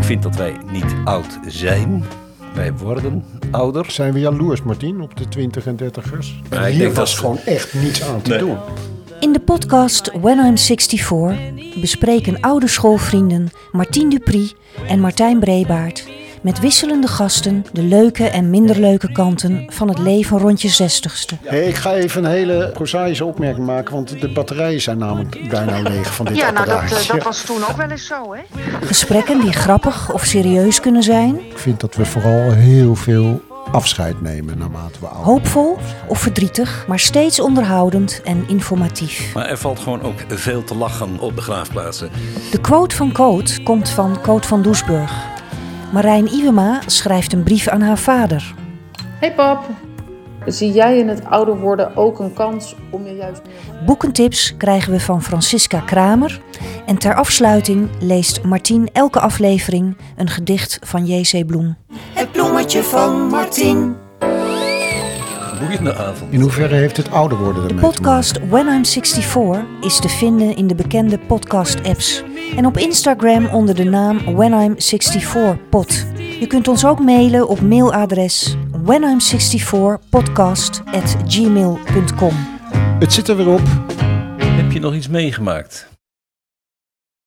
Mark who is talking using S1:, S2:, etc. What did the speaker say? S1: vind dat wij niet oud zijn. Wij worden ouder.
S2: Zijn we jaloers, Martien, op de 20 en 30ers?
S1: Ja, ik
S2: Hier
S1: denk
S2: was
S1: dat-
S2: gewoon echt niets aan te
S1: Nee.
S2: doen.
S3: In de podcast When I'm 64 bespreken oude schoolvrienden Martien Dupri en Martijn Brebaert met wisselende gasten de leuke en minder leuke kanten van het leven rond je zestigste.
S2: Hey, ik ga even een hele prozaïsche opmerking maken, want de batterijen zijn namelijk bijna leeg van dit
S4: Ja, nou dat, eh,
S2: apparaatje.
S4: dat was toen ook wel eens zo, hè?
S3: Gesprekken die grappig of serieus kunnen zijn,
S2: Ik vind dat we vooral heel veel afscheid nemen naarmate we ouder
S3: hoopvol of verdrietig, maar steeds onderhoudend en informatief.
S1: Maar er valt gewoon ook veel te lachen op begraafplaatsen.
S3: De quote van Coot komt van Coot van Doesburg. Marijn Iwema schrijft een brief aan haar vader.
S5: Hey pap, zie jij in het ouder worden ook een kans om je juist meer...
S3: Boekentips krijgen we van Francisca Kramer. En ter afsluiting leest Martien elke aflevering een gedicht van J.C. Bloem. Het bloemetje van Martien.
S1: Boeiende avond.
S2: In hoeverre heeft het ouder worden
S3: De
S2: ermee te maken?
S3: podcast When I'm 64 is te vinden in de bekende podcast-apps. En op Instagram onder de naam When I'm 64 Pod. Je kunt ons ook mailen op mailadres whenim64podcast@gmail.com.
S2: Het zit er weer op.
S1: Heb je nog iets meegemaakt?